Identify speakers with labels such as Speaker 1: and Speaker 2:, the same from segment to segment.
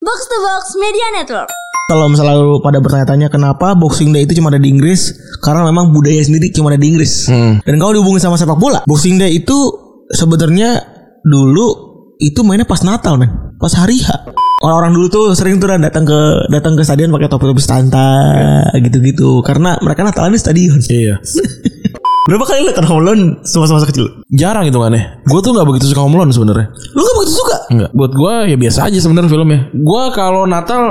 Speaker 1: Box to Box Media Network.
Speaker 2: Kalau selalu pada bertanya-tanya kenapa Boxing Day itu cuma ada di Inggris, karena memang budaya sendiri cuma ada di Inggris.
Speaker 3: Hmm.
Speaker 2: Dan kalau dihubungin sama sepak bola, Boxing Day itu sebenarnya dulu itu mainnya pas Natal, men. Pas hari H. Orang-orang dulu tuh sering tuh Ran, datang ke datang ke stadion pakai topi-topi stanta gitu-gitu karena mereka Natalan di stadion.
Speaker 3: Iya.
Speaker 2: Berapa kali lu nonton Home Alone semasa-masa kecil? lu?
Speaker 3: Jarang hitungannya. Gue tuh nggak begitu suka Home Alone sebenarnya.
Speaker 2: Lu gak begitu suka?
Speaker 3: Enggak. Buat gue ya biasa aja sebenarnya filmnya. Gue kalau Natal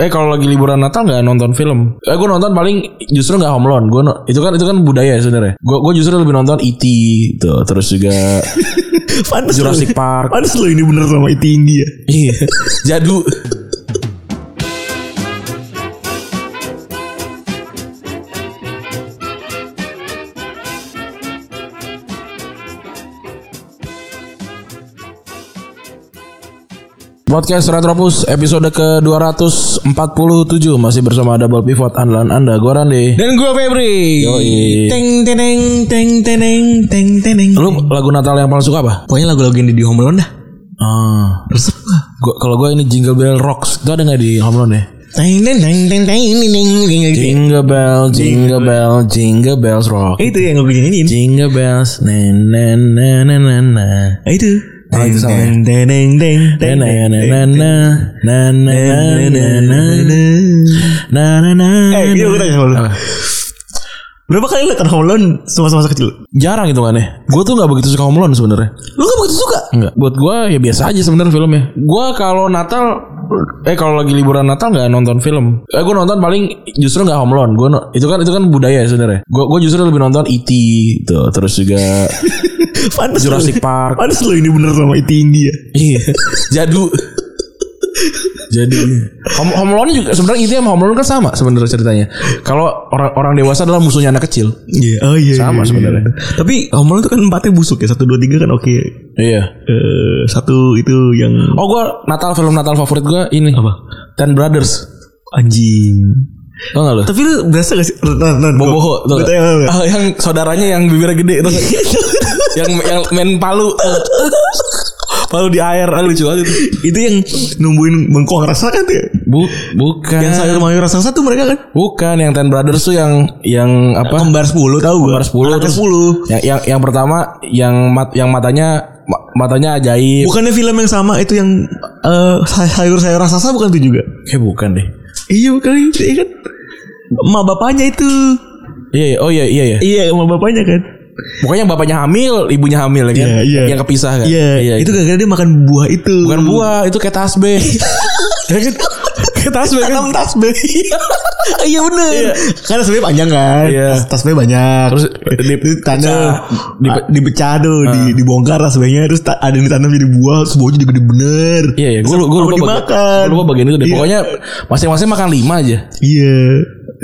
Speaker 3: eh kalau lagi liburan Natal nggak nonton film. Eh gue nonton paling justru nggak Home Alone. Gue no- itu kan itu kan budaya ya sebenarnya. Gue gue justru lebih nonton E.T. gitu. Terus juga
Speaker 2: Pantes
Speaker 3: Jurassic
Speaker 2: lu-
Speaker 3: Park.
Speaker 2: Pantes lu ini bener sama itu India.
Speaker 3: iya jadu. Podcast Retropus episode ke-247 Masih bersama Double Pivot andalan Anda Gue Rande
Speaker 2: Dan gue Febri.
Speaker 3: Yoi.
Speaker 2: Teng teneng teng teneng teng teneng.
Speaker 3: Lu lagu Natal yang paling suka apa?
Speaker 2: Pokoknya lagu-lagu yang di Home Alone dah.
Speaker 3: Ah,
Speaker 2: Resep gak?
Speaker 3: gua, Kalau gue ini Jingle Bell Rocks Itu ada gak di Home Alone ya?
Speaker 2: Teng teng teng teng teng teng teng teng teng.
Speaker 3: Jingle Bell, Jingle Bell, Jingle Bells Rock
Speaker 2: Eh, Itu yang gue nyanyiin.
Speaker 3: Jingle Bells na na na na na na
Speaker 2: Eh, Itu.
Speaker 3: Oh, itu sama ya?
Speaker 2: Teng teng teng teng
Speaker 3: na
Speaker 2: teng
Speaker 3: na
Speaker 2: teng
Speaker 3: na na
Speaker 2: teng.
Speaker 3: na na na na na na na na na
Speaker 2: Eh, ini gue tanya sama lu.
Speaker 3: Apa?
Speaker 2: Berapa kali lu nonton Home Alone semasa-masa kecil? lu?
Speaker 3: Jarang hitungannya Gue tuh gak begitu suka Home Alone sebenernya
Speaker 2: Lu gak begitu suka?
Speaker 3: Enggak. Buat gua ya biasa aja sebenarnya filmnya. Gua kalau Natal eh kalau lagi liburan Natal nggak nonton film. Eh gua nonton paling justru nggak Home Alone. Gua no- itu kan itu kan budaya ya sebenarnya. Gua gua justru lebih nonton E.T. gitu. Terus juga
Speaker 2: Pantes lu-
Speaker 3: Jurassic Park.
Speaker 2: Pantes lu ini bener sama ya? itu India.
Speaker 3: iya. Jadu. Jadi Home, iya. Home Alone juga sebenarnya itu sama Home Alone kan sama sebenarnya ceritanya. Kalau orang orang dewasa adalah musuhnya anak kecil.
Speaker 2: Iya, oh iya.
Speaker 3: Sama
Speaker 2: iya,
Speaker 3: sebenarnya.
Speaker 2: iya. Tapi Home Alone itu kan empatnya busuk ya. Satu dua tiga kan oke.
Speaker 3: Iya.
Speaker 2: Eh, satu itu yang
Speaker 3: Oh gua Natal film Natal favorit gua ini.
Speaker 2: Apa?
Speaker 3: Ten Brothers.
Speaker 2: anjing.
Speaker 3: Tau gak lu?
Speaker 2: Tapi lu berasa gak sih? Nah, nah,
Speaker 3: Boboho
Speaker 2: tuh.
Speaker 3: tuh. Ah, yang saudaranya yang bibirnya gede tuh. yang yang main palu. palu di air, ah, lucu banget itu.
Speaker 2: itu yang numbuhin bengkoang rasa kan tuh. ya?
Speaker 3: Bu, bukan.
Speaker 2: Yang sayur mayur rasa satu mereka kan.
Speaker 3: bukan yang Ten Brothers tuh yang yang apa?
Speaker 2: Kembar 10 tahu gua.
Speaker 3: Kembar 10
Speaker 2: Anaknya
Speaker 3: terus-
Speaker 2: 10.
Speaker 3: Yang yang yang pertama yang mat, yang matanya ma- matanya ajaib.
Speaker 2: Bukannya film yang sama itu yang eh, say- sayur-sayur raksasa bukan itu juga?
Speaker 3: Eh bukan deh.
Speaker 2: Iya bukan itu iya kan. Emak bapaknya itu.
Speaker 3: Iya, iya. oh iya iya iya.
Speaker 2: Iya, emak bapaknya kan.
Speaker 3: Pokoknya yang bapaknya hamil, ibunya hamil ya kan.
Speaker 2: Iya, iya.
Speaker 3: Yang kepisah kan.
Speaker 2: Iya, itu gara-gara dia makan buah itu.
Speaker 3: bukan buah, itu kayak tasbih.
Speaker 2: Iya,
Speaker 3: Ya kan? kayak tasbih kan.
Speaker 2: Tanam tasbih. iya bener. Karena tasbih panjang kan.
Speaker 3: Iya.
Speaker 2: Tas- Tasbih banyak.
Speaker 3: Terus eh,
Speaker 2: di, ditanam,
Speaker 3: Dipecah. Ah.
Speaker 2: di- dipecah tuh, di, dibongkar tasbihnya. Terus ta- ada yang ditanam jadi buah, terus buahnya jadi gede bener.
Speaker 3: Iya iya, gue lupa
Speaker 2: Sama
Speaker 3: bagian-
Speaker 2: dimakan.
Speaker 3: gua lupa bagian itu deh.
Speaker 2: Iya.
Speaker 3: Pokoknya masing-masing makan lima aja.
Speaker 2: Iya.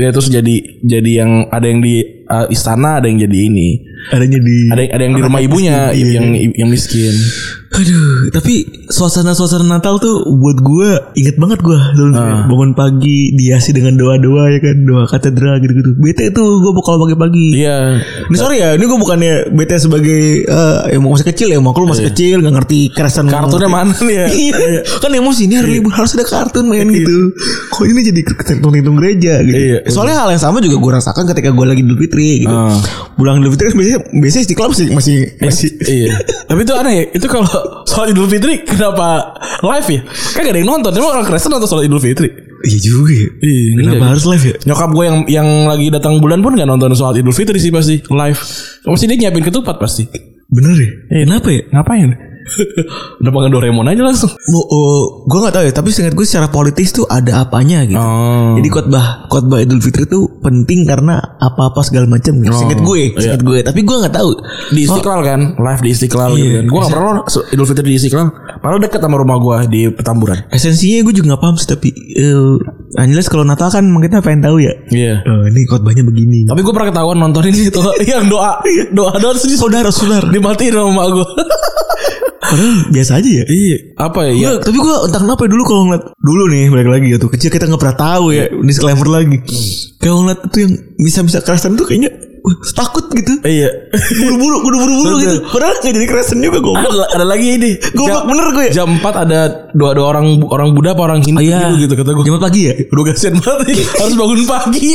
Speaker 3: Ya terus jadi jadi yang ada yang di uh, istana, ada yang jadi ini.
Speaker 2: Adanya di.
Speaker 3: Ada yang ada yang di rumah ibunya
Speaker 2: miskin, iya.
Speaker 3: yang yang miskin.
Speaker 2: Aduh, tapi suasana-suasana Natal tuh buat gue inget banget gue
Speaker 3: Ah.
Speaker 2: bangun pagi dihiasi dengan doa-doa ya kan doa katedral gitu-gitu. Bete tuh gue kalau pagi-pagi.
Speaker 3: Iya.
Speaker 2: Ini sorry ya, ini gue bukannya bete sebagai eh, emang masih kecil ya, emang lu masih kecil nggak ngerti keresan
Speaker 3: Kartunya
Speaker 2: nggak
Speaker 3: Iya. mana Iya. nih ya?
Speaker 2: ngerti. Iya, kan emosi ini hari libur harus ada kartun main gitu. Kok ini jadi ketentung-tentung gereja gitu.
Speaker 3: Iya.
Speaker 2: Soalnya hal yang sama juga gue rasakan ketika gue lagi Idul Fitri gitu.
Speaker 3: Ah.
Speaker 2: Pulang Idul Fitri kan biasanya biasanya istiqlal masih masih masih
Speaker 3: iya. Tapi itu aneh ya. Itu kalau soal Idul Fitri kenapa live ya? Kan gak ada yang nonton. Emang orang Kristen nonton soal Idul Fitri.
Speaker 2: Iya juga. ya.
Speaker 3: Iya,
Speaker 2: Kenapa
Speaker 3: iya.
Speaker 2: harus live ya?
Speaker 3: Nyokap gue yang yang lagi datang bulan pun gak nonton soal Idul Fitri sih pasti live. Pasti dia nyiapin ketupat pasti.
Speaker 2: Bener ya? Kenapa ya?
Speaker 3: Ngapain? Udah makan Doraemon aja langsung.
Speaker 2: Mau, gue nggak tahu ya. Tapi seingat gue secara politis tuh ada apanya gitu.
Speaker 3: Oh.
Speaker 2: Jadi khotbah khotbah Idul Fitri tuh penting karena apa-apa segala macam. gitu. Seingat
Speaker 3: Oh,
Speaker 2: gue,
Speaker 3: iya.
Speaker 2: seingat gue. Tapi gue nggak tahu.
Speaker 3: di Istiqlal kan, live di Istiqlal gitu
Speaker 2: Oh. Iya.
Speaker 3: kan. Gua gak pernah loh se- Idul Fitri di Istiqlal. Padahal deket sama rumah gua di Petamburan.
Speaker 2: Esensinya gue juga nggak paham sih. Tapi eh Anjelas kalau Natal kan emang kita pengen tahu ya.
Speaker 3: Iya.
Speaker 2: Eh, ini khotbahnya begini.
Speaker 3: Tapi gua pernah ketahuan nontonin itu yang doa, doa doa terus di-
Speaker 2: saudara saudara.
Speaker 3: dimatiin sama emak gua.
Speaker 2: Padahal biasa aja ya.
Speaker 3: iya. Apa ya? ya?
Speaker 2: Iya, tapi gue entah kenapa ya dulu kalau ngeliat dulu nih balik lagi ya tuh
Speaker 3: Iya. Hmm.
Speaker 2: kecil kita nggak pernah tahu ya disclaimer lagi. Kalau ngeliat itu yang bisa bisa kerasan tuh kayaknya Wah, takut gitu.
Speaker 3: Iya.
Speaker 2: Buru-buru, kudu buru-buru
Speaker 3: Bener.
Speaker 2: gitu. Padahal nggak jadi kerasan juga gue.
Speaker 3: ada, ada lagi ini.
Speaker 2: Goblok
Speaker 3: Jam-
Speaker 2: bener ya. gue.
Speaker 3: Jam 4 ada dua dua orang orang Buddha apa orang Hindu
Speaker 2: Oh, iya.
Speaker 3: gitu, gitu kata gue.
Speaker 2: Jumat pagi ya?
Speaker 3: Aduh kasihan banget ini. Harus bangun pagi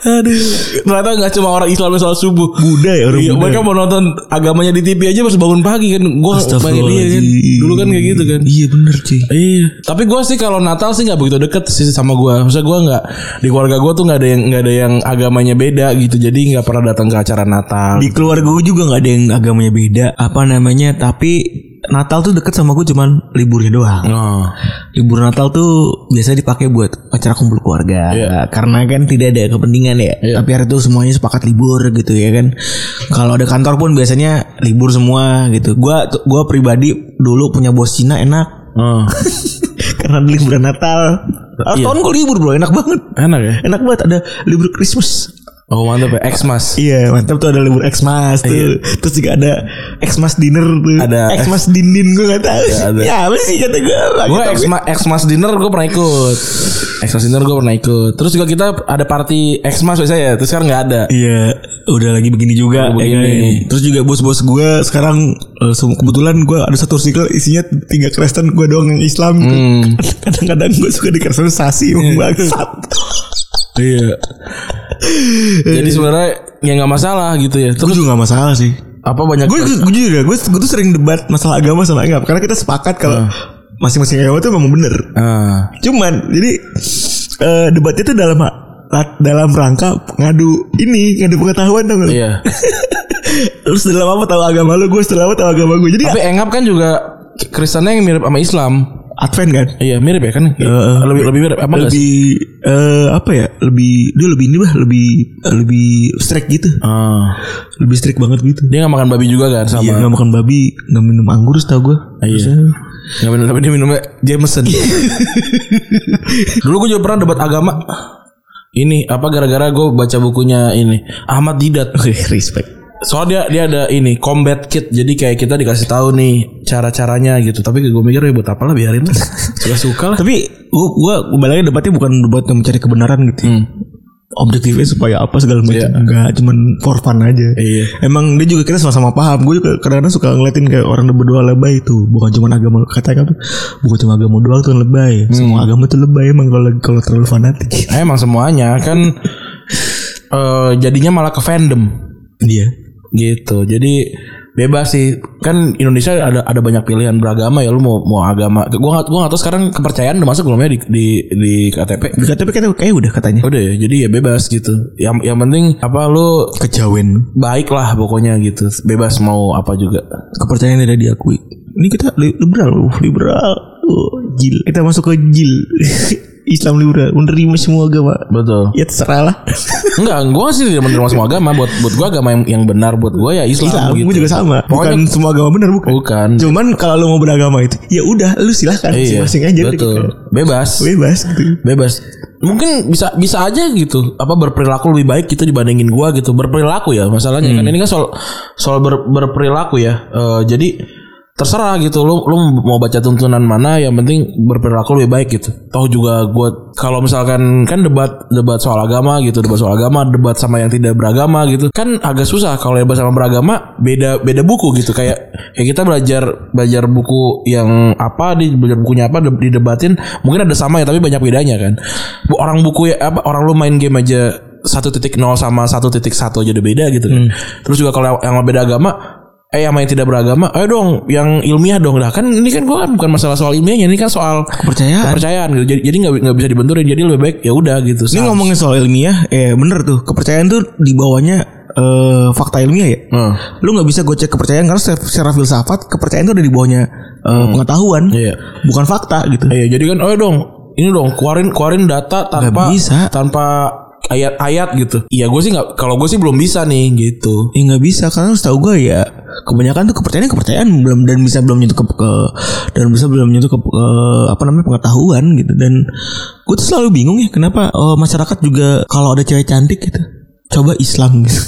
Speaker 3: Aduh Ternyata gak cuma orang Islam yang sholat subuh
Speaker 2: Buddha ya orang
Speaker 3: Iya,
Speaker 2: Buddha.
Speaker 3: mereka mau nonton agamanya di TV aja harus bangun pagi kan. Gua bangun dia kan. Dulu kan kayak gitu kan.
Speaker 2: Iya bener cuy.
Speaker 3: Iya. Tapi gua sih kalau Natal sih nggak begitu deket sih sama gua. Maksudnya gua nggak di keluarga gua tuh nggak ada yang nggak ada yang agamanya beda gitu. Jadi nggak pernah datang ke acara Natal.
Speaker 2: Di keluarga gue juga nggak ada yang agamanya beda. Apa namanya? Tapi Natal tuh deket sama gue cuman liburnya doang.
Speaker 3: Oh.
Speaker 2: Libur Natal tuh biasanya dipakai buat acara kumpul keluarga
Speaker 3: Iya.
Speaker 2: karena kan tidak ada kepentingan ya.
Speaker 3: Iya.
Speaker 2: Tapi hari itu semuanya sepakat libur gitu ya kan. Kalau ada kantor pun biasanya libur semua gitu. Gua gua pribadi dulu punya bos Cina enak
Speaker 3: Oh.
Speaker 2: karena ada liburan Natal. Ah,
Speaker 3: Iya.
Speaker 2: Tahun gue libur bro, enak banget.
Speaker 3: Enak ya.
Speaker 2: Enak banget ada libur Christmas.
Speaker 3: Oh mantap ya. Xmas.
Speaker 2: Iya mantap Iya. tuh ada libur Xmas tuh. Terus juga ada Xmas dinner tuh.
Speaker 3: Ada
Speaker 2: Xmas dindin gue nggak tahu.
Speaker 3: Ya, ada.
Speaker 2: Ya, apa sih kata gue?
Speaker 3: Gue Xmas, Xmas dinner gue pernah ikut Xmas dinner gue pernah ikut Terus juga kita ada party Xmas biasanya ya Terus sekarang gak ada
Speaker 2: Iya, udah lagi begini juga.
Speaker 3: Udah begini.
Speaker 2: ya kan? Terus juga bos-bos gue sekarang eh, sem- kebetulan gue ada satu circle isinya tiga Kristen gue doang yang Islam. gitu. Kadang-kadang gue suka dikristenisasi emang bangsat.
Speaker 3: Iya Jadi sebenarnya ya gak masalah gitu ya
Speaker 2: Gue
Speaker 3: Terus
Speaker 2: juga gak masalah sih.
Speaker 3: apa banyak
Speaker 2: Gue gue juga gue gue tuh sering debat masalah agama sama Engap karena kita sepakat kalau masing-masing agama tuh memang bener.
Speaker 3: Ah.
Speaker 2: Cuman jadi eh, debatnya tuh dalam dalam rangka ngadu ini ngadu pengetahuan tau gak?
Speaker 3: Iya
Speaker 2: Lu setelah apa tahu agama lu, gue setelah apa tahu agama gue. Jadi
Speaker 3: Tapi Engap kan juga Kristennya yang mirip sama Islam
Speaker 2: Advent kan?
Speaker 3: Iya mirip ya kan
Speaker 2: Heeh.
Speaker 3: Lebih lebih mirip Apa nggak sih?
Speaker 2: lebih eh, apa ya lebih dia lebih ini bah lebih eh, lebih strict gitu
Speaker 3: Ah.
Speaker 2: lebih strict banget gitu
Speaker 3: Dia gak makan babi juga kan sama
Speaker 2: Iya, nggak makan babi nggak minum anggur tau gue
Speaker 3: Iya. Nggak minum tapi dia minumnya Jameson. Dulu gue juga pernah debat agama. Ini apa gara-gara gue baca bukunya ini Ahmad Didat.
Speaker 2: respect
Speaker 3: Soalnya dia dia ada ini combat kit. Jadi kayak kita dikasih tahu nih cara-caranya gitu. Tapi gue mikir ya buat apa lah biarin lah. Suka-suka lah.
Speaker 2: tapi gue gue baliknya debatnya bukan debat yang mencari kebenaran gitu ya.
Speaker 3: Hmm.
Speaker 2: objektifnya supaya apa segala macam enggak cuman for fun aja
Speaker 3: Iya.
Speaker 2: emang dia juga kita sama-sama paham gue juga kadang-kadang suka ngeliatin kayak orang berdoa lebay itu bukan cuman agama kata kamu bukan cuma agama doang tuh yang lebay
Speaker 3: Hmm.
Speaker 2: semua agama tuh lebay emang kalau kalau terlalu fanatik
Speaker 3: Nah, emang semuanya kan eh, jadinya malah ke fandom.
Speaker 2: Iya.
Speaker 3: gitu jadi bebas sih kan Indonesia ada ada banyak pilihan beragama ya lu mau mau agama gua nggak gua nggak tahu sekarang kepercayaan udah masuk belum ya di di, di KTP
Speaker 2: Di KTP kan kayak udah katanya.
Speaker 3: udah ya jadi ya bebas gitu yang yang penting apa lu
Speaker 2: Kejawen.
Speaker 3: baik lah pokoknya gitu bebas mau apa juga
Speaker 2: Kepercayaan tidak diakui. Ini kita li- liberal, loh, liberal. Oh, jil. Kita masuk ke jil. Islam liberal menerima semua agama.
Speaker 3: betul
Speaker 2: Ya terserah lah.
Speaker 3: enggak gua sih tidak menerima semua agama buat buat gua agama yang, yang benar buat gua ya Islam,
Speaker 2: Islam
Speaker 3: gitu Oh,
Speaker 2: gue juga sama. Bukan semua agama benar bukan.
Speaker 3: bukan
Speaker 2: Cuman kalau lu mau beragama itu, ya udah lu silahkan
Speaker 3: iya
Speaker 2: masing-masing aja. gitu kan.
Speaker 3: betul bebas
Speaker 2: Bebas gitu.
Speaker 3: bebas mungkin bisa bisa aja gitu apa berperilaku lebih baik gitu dibandingin gua gitu berperilaku ya masalahnya kan ini kan soal soal ber- berperilaku ya Eh, jadi terserah gitu lu lu mau baca tuntunan mana yang penting berperilaku lebih baik gitu toh juga gua kalau misalkan kan debat debat soal agama gitu debat soal agama debat sama yang tidak beragama gitu kan agak susah kalau debat sama beragama beda beda buku gitu kayak kayak kita belajar belajar buku yang apa di belajar bukunya apa de- didebatin mungkin ada sama ya tapi banyak bedanya kan Bu- orang buku ya apa orang lu main game aja 1.0 sama 1.1 aja udah beda gitu kan. Terus juga kalau yang beda agama eh yang main tidak beragama ayo dong yang ilmiah dong lah kan ini kan gua kan bukan masalah soal ilmiahnya ini kan soal
Speaker 2: Kepercayaan.
Speaker 3: kepercayaan gitu jadi jadi nggak nggak bisa dibenturin jadi lebih baik ya udah gitu
Speaker 2: Kan? Ini ngomongin soal ilmiah, eh bener tuh. Kepercayaan tuh di bawahnya eh, fakta ilmiah ya.
Speaker 3: Heeh.
Speaker 2: lu nggak bisa gocek kepercayaan karena secara, secara filsafat kepercayaan itu ada di bawahnya eh, pengetahuan
Speaker 3: Iya.
Speaker 2: bukan fakta gitu
Speaker 3: Iya, jadi kan oh dong, ini dong keluarin keluarin data
Speaker 2: Nggak
Speaker 3: tanpa
Speaker 2: bisa.
Speaker 3: tanpa ayat-ayat gitu. Iya, gue sih nggak kalau gue sih belum bisa nih gitu.
Speaker 2: ya nggak bisa karena setahu gue ya kebanyakan tuh kepercayaan kepercayaan belum dan bisa belum nyentuh ke, ke- dan bisa belum nyentuh ke, ke apa namanya pengetahuan gitu dan gue tuh selalu bingung ya kenapa eh, masyarakat juga kalau ada cewek cantik gitu coba Islam gitu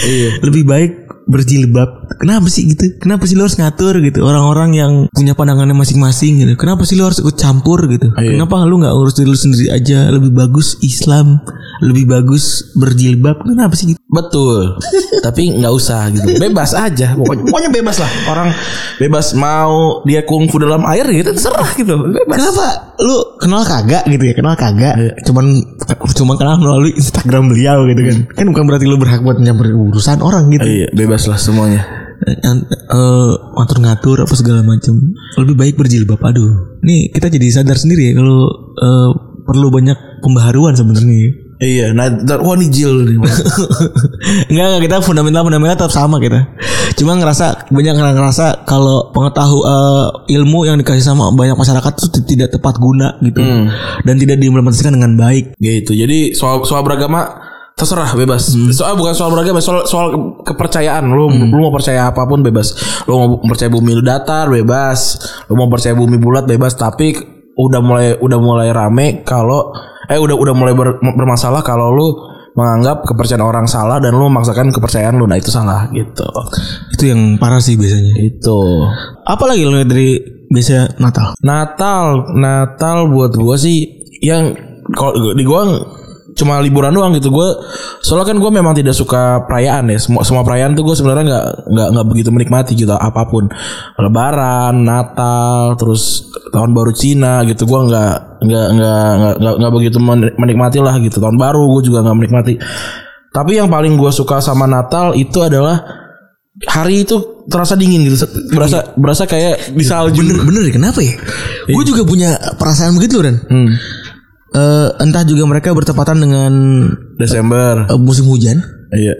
Speaker 3: Iya.
Speaker 2: lebih baik berjilbab kenapa sih gitu kenapa sih lo harus ngatur gitu orang-orang yang punya pandangannya masing-masing gitu kenapa sih lo harus ikut campur gitu
Speaker 3: Iya.
Speaker 2: kenapa lo nggak urus diri lo sendiri aja lebih bagus Islam lebih bagus berjilbab kenapa sih gitu
Speaker 3: Betul. Tapi nggak usah gitu. Bebas aja pokoknya. Pokoknya bebas lah. Orang bebas mau dia kungfu dalam air gitu terserah gitu. Bebas. Iya.
Speaker 2: Kenapa lu kenal kagak gitu ya kenal kagak cuman cuman kenal melalui Instagram beliau gitu kan kan bukan berarti lu berhak buat mencampur urusan orang gitu
Speaker 3: Iya, bebas lah semuanya.
Speaker 2: Yang, eh, ngatur-ngatur apa segala macam lebih baik berjilbab aduh nih kita jadi sadar sendiri ya kalau eh, perlu banyak pembaharuan sebenarnya
Speaker 3: Iya, nah, ntar- wah ini jil nih.
Speaker 2: Enggak, enggak kita fundamental fundamental tetap sama kita. Cuma ngerasa banyak orang ngerasa kalau pengetahuan ilmu yang dikasih sama banyak masyarakat itu t- tidak tepat guna gitu. Dan tidak diimplementasikan dengan baik.
Speaker 3: gitu. Jadi soal soal beragama terserah bebas. Soal bukan soal beragama, soal soal kepercayaan. Lu lu mau percaya apapun bebas. Lu mau percaya bumi lu datar bebas. Lu mau percaya bumi bulat bebas, tapi udah mulai udah mulai rame kalau eh udah udah mulai ber- bermasalah kalau lu menganggap kepercayaan orang salah dan lu memaksakan kepercayaan lu. Nah, itu salah gitu.
Speaker 2: Itu yang parah sih biasanya.
Speaker 3: Itu.
Speaker 2: Apalagi lo lihat dari biasa Natal.
Speaker 3: Natal, Natal buat gua sih yang kalau di gua cuma liburan doang gitu gua soalnya kan gua memang tidak suka perayaan ya semua semua perayaan tuh gua sebenarnya nggak nggak nggak begitu menikmati gitu apapun Lebaran Natal terus tahun baru Cina gitu gua nggak nggak nggak nggak- nggak nggak begitu men- menikmati lah gitu tahun baru gua juga nggak menikmati tapi yang paling gua suka sama Natal itu adalah hari itu terasa dingin gitu berasa berasa kayak di salju
Speaker 2: Bener bener ya kenapa ya? Gue juga punya perasaan begitu Ren.
Speaker 3: Hmm.
Speaker 2: Eh, entah juga mereka bertepatan dengan
Speaker 3: Desember.
Speaker 2: eh, musim hujan.
Speaker 3: Iya.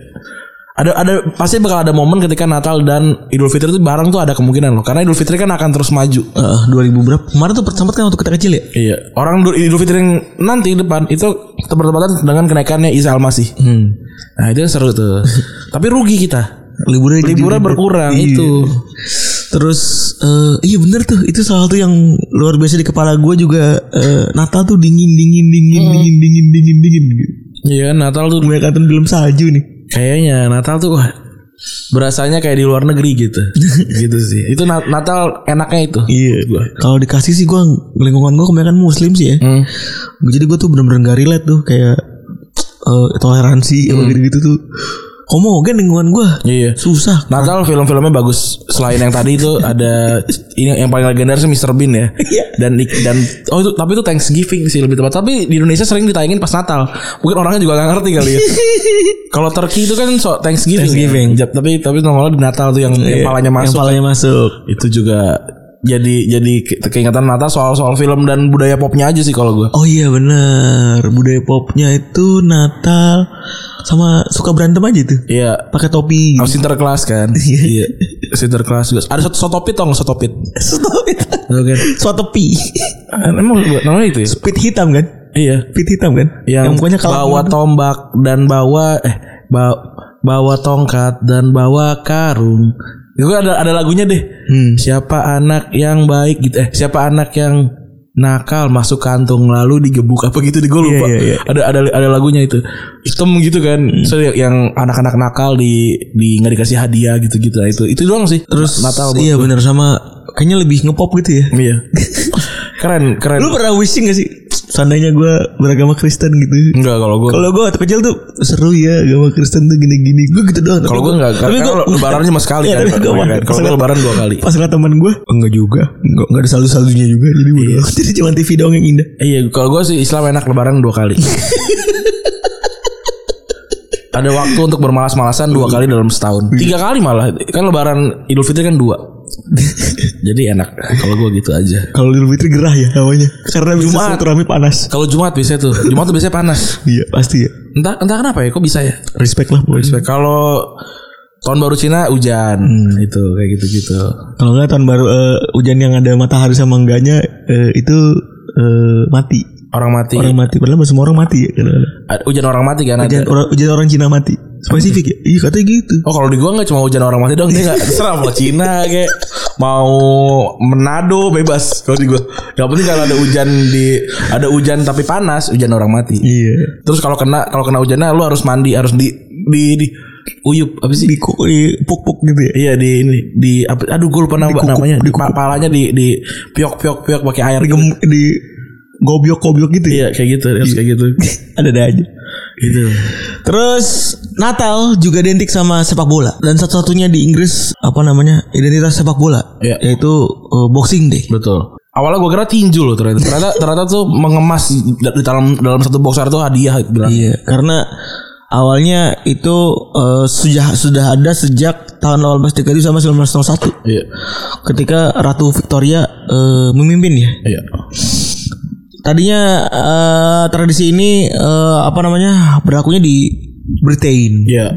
Speaker 3: Ada ada pasti bakal ada momen ketika Natal dan Idul Fitri itu bareng tuh ada kemungkinan loh. Karena Idul Fitri kan akan terus maju.
Speaker 2: Eh, 2000 berapa? Kemarin tuh sempat kan waktu kita kecil ya.
Speaker 3: Iya. Orang Idul- Idul Fitri yang nanti depan itu bertepatan dengan kenaikannya Isa Almasih.
Speaker 2: Hmm.
Speaker 3: Nah, itu yang seru tuh. Tapi rugi kita.
Speaker 2: Liburan
Speaker 3: Liburan berkurang itu.
Speaker 2: Iya. Terus eh, iya bener tuh itu salah satu yang luar biasa di kepala gue juga eh, Natal tuh dingin dingin dingin
Speaker 3: Hmm.
Speaker 2: dingin dingin dingin dingin.
Speaker 3: Iya, Natal tuh
Speaker 2: Banyak kata film salju nih.
Speaker 3: kayaknya Natal tuh wah, berasanya kayak di luar negeri gitu. gitu sih. Itu Na- Natal enaknya itu.
Speaker 2: Iya. Kalau dikasih sih gue lingkungan gue kebanyakan muslim sih ya.
Speaker 3: Hmm.
Speaker 2: Jadi gue tuh bener-bener gak relate tuh kayak eh, toleransi apa gitu-gitu tuh. Homogen lingkungan gue.
Speaker 3: Iya.
Speaker 2: Susah.
Speaker 3: Natal film-filmnya bagus. Selain yang tadi itu ada ini yang paling legender sih Mr Bean ya.
Speaker 2: Iya.
Speaker 3: Dan dan oh itu tapi itu Thanksgiving sih lebih tepat. Tapi di Indonesia sering ditayangin pas Natal. Mungkin orangnya juga gak ngerti kali ya. Kalau Turkey itu kan so Thanksgiving.
Speaker 2: Thanksgiving.
Speaker 3: Ya. Jap- Tapi tapi normalnya di Natal tuh yang, yang palanya
Speaker 2: Yang
Speaker 3: masuk.
Speaker 2: palanya masuk.
Speaker 3: itu juga jadi jadi ke- keingatan Natal soal-soal film dan budaya popnya aja sih kalau gue.
Speaker 2: Oh iya bener budaya popnya itu Natal sama suka berantem aja tuh
Speaker 3: Iya.
Speaker 2: pakai topi.
Speaker 3: Harus interclass kan. iya. Harus Interclass juga. Ada sotopit tau gak sotopit? Tau kan?
Speaker 2: Sotopi
Speaker 3: Emang namanya itu ya?
Speaker 2: Pit hitam kan
Speaker 3: Iya.
Speaker 2: Pit hitam kan
Speaker 3: yang,
Speaker 2: mukanya kan?
Speaker 3: bawa
Speaker 2: kalau
Speaker 3: tombak dan bawa eh ba- bawa tongkat dan bawa karung. Gue ada ada lagunya deh.
Speaker 2: Hmm.
Speaker 3: Siapa anak yang baik gitu eh siapa anak yang nakal masuk kantung lalu digebuk apa gitu deh gue
Speaker 2: Iya,
Speaker 3: lupa.
Speaker 2: Hmm. iya, iya.
Speaker 3: Ada ada ada lagunya itu. Hitam gitu kan. So, yang anak-anak nakal di di nggak dikasih hadiah gitu-gitu. Nah, itu itu doang sih.
Speaker 2: Terus
Speaker 3: Na- Natal.
Speaker 2: Iya bener sama Kayaknya lebih ngepop gitu ya
Speaker 3: Iya. keren, keren.
Speaker 2: Lu pernah wishing gak sih Seandainya gue beragama Kristen gitu
Speaker 3: Enggak kalau gue.
Speaker 2: Kalau gue waktu kecil tuh Seru ya agama Kristen tuh gini-gini Gue gitu doang
Speaker 3: Kalau gue enggak,
Speaker 2: Tapi
Speaker 3: karena
Speaker 2: gue
Speaker 3: lebaran cuma sekali
Speaker 2: Iya,
Speaker 3: kan.
Speaker 2: tapi gua-
Speaker 3: Kalau gue lebaran dua kali.
Speaker 2: Pas ngeliat temen gue Enggak juga Enggak, enggak ada salju-saljunya juga Jadi bodo amat. Jadi cuma TV doang yang indah
Speaker 3: Iya, kalau gue sih Islam enak lebaran dua kali. Ada waktu untuk bermalas-malasan dua kali dalam setahun. Tiga kali malah. Kan lebaran Idul Fitri kan dua. Jadi enak kalau gue gitu aja.
Speaker 2: Kalau Idul Fitri gerah ya hawanya Karena bisa
Speaker 3: Jumat.
Speaker 2: silaturahmi panas
Speaker 3: Kalau Jumat biasanya tuh. Jumat tuh biasanya panas.
Speaker 2: Iya pasti ya
Speaker 3: Entah entah kenapa ya kok bisa ya?
Speaker 2: Respect lah boys
Speaker 3: Kalau tahun baru Cina hujan
Speaker 2: Hmm.
Speaker 3: itu kayak gitu-gitu.
Speaker 2: Kalau nggak tahun baru eh, hujan yang ada matahari sama enggaknya eh, itu eh, mati.
Speaker 3: Orang mati.
Speaker 2: Orang mati padahal semua orang mati ya. kadang-kadang.
Speaker 3: Ad- Hujan orang mati kan ada.
Speaker 2: Hujan orang, hujan orang Cina mati. Spesifik ya? Iya katanya gitu.
Speaker 3: Oh kalau di gua nggak cuma hujan orang mati dong dia nggak terserah mau Cina kayak mau Manado bebas kalau di gua. Yang penting kalau ada hujan di ada hujan tapi panas hujan orang mati.
Speaker 2: Iya.
Speaker 3: Terus kalau kena kalau kena hujannya lu harus mandi harus di di, di Uyup apa sih?
Speaker 2: di kok di puk puk gitu ya
Speaker 3: Iya di ini di apa- aduh gue lupa nama,
Speaker 2: Dikukup,
Speaker 3: namanya di
Speaker 2: dikukup.
Speaker 3: palanya di di piok piok piok pakai air
Speaker 2: di, gem- di gobyok gobyok gitu ya
Speaker 3: Iya kayak gitu harus kayak gitu.
Speaker 2: ada ada aja
Speaker 3: gitu.
Speaker 2: Terus Natal juga identik sama sepak bola dan satu-satunya di Inggris apa namanya identitas sepak bola
Speaker 3: Iya.
Speaker 2: yaitu eh, Boxing Day.
Speaker 3: Betul. Awalnya gue kira tinju loh ternyata. Ternyata ternyata tuh mengemas di di dalam dalam satu boxer tuh hadiah gitu.
Speaker 2: Iya, karena awalnya itu eh, sudah sudah ada sejak tahun 1830 sama 1901
Speaker 3: Iya.
Speaker 2: ketika Ratu Victoria eh, memimpin ya.
Speaker 3: Iya.
Speaker 2: Tadinya eh, tradisi ini eh, apa namanya berlakunya di Britain.
Speaker 3: Iya.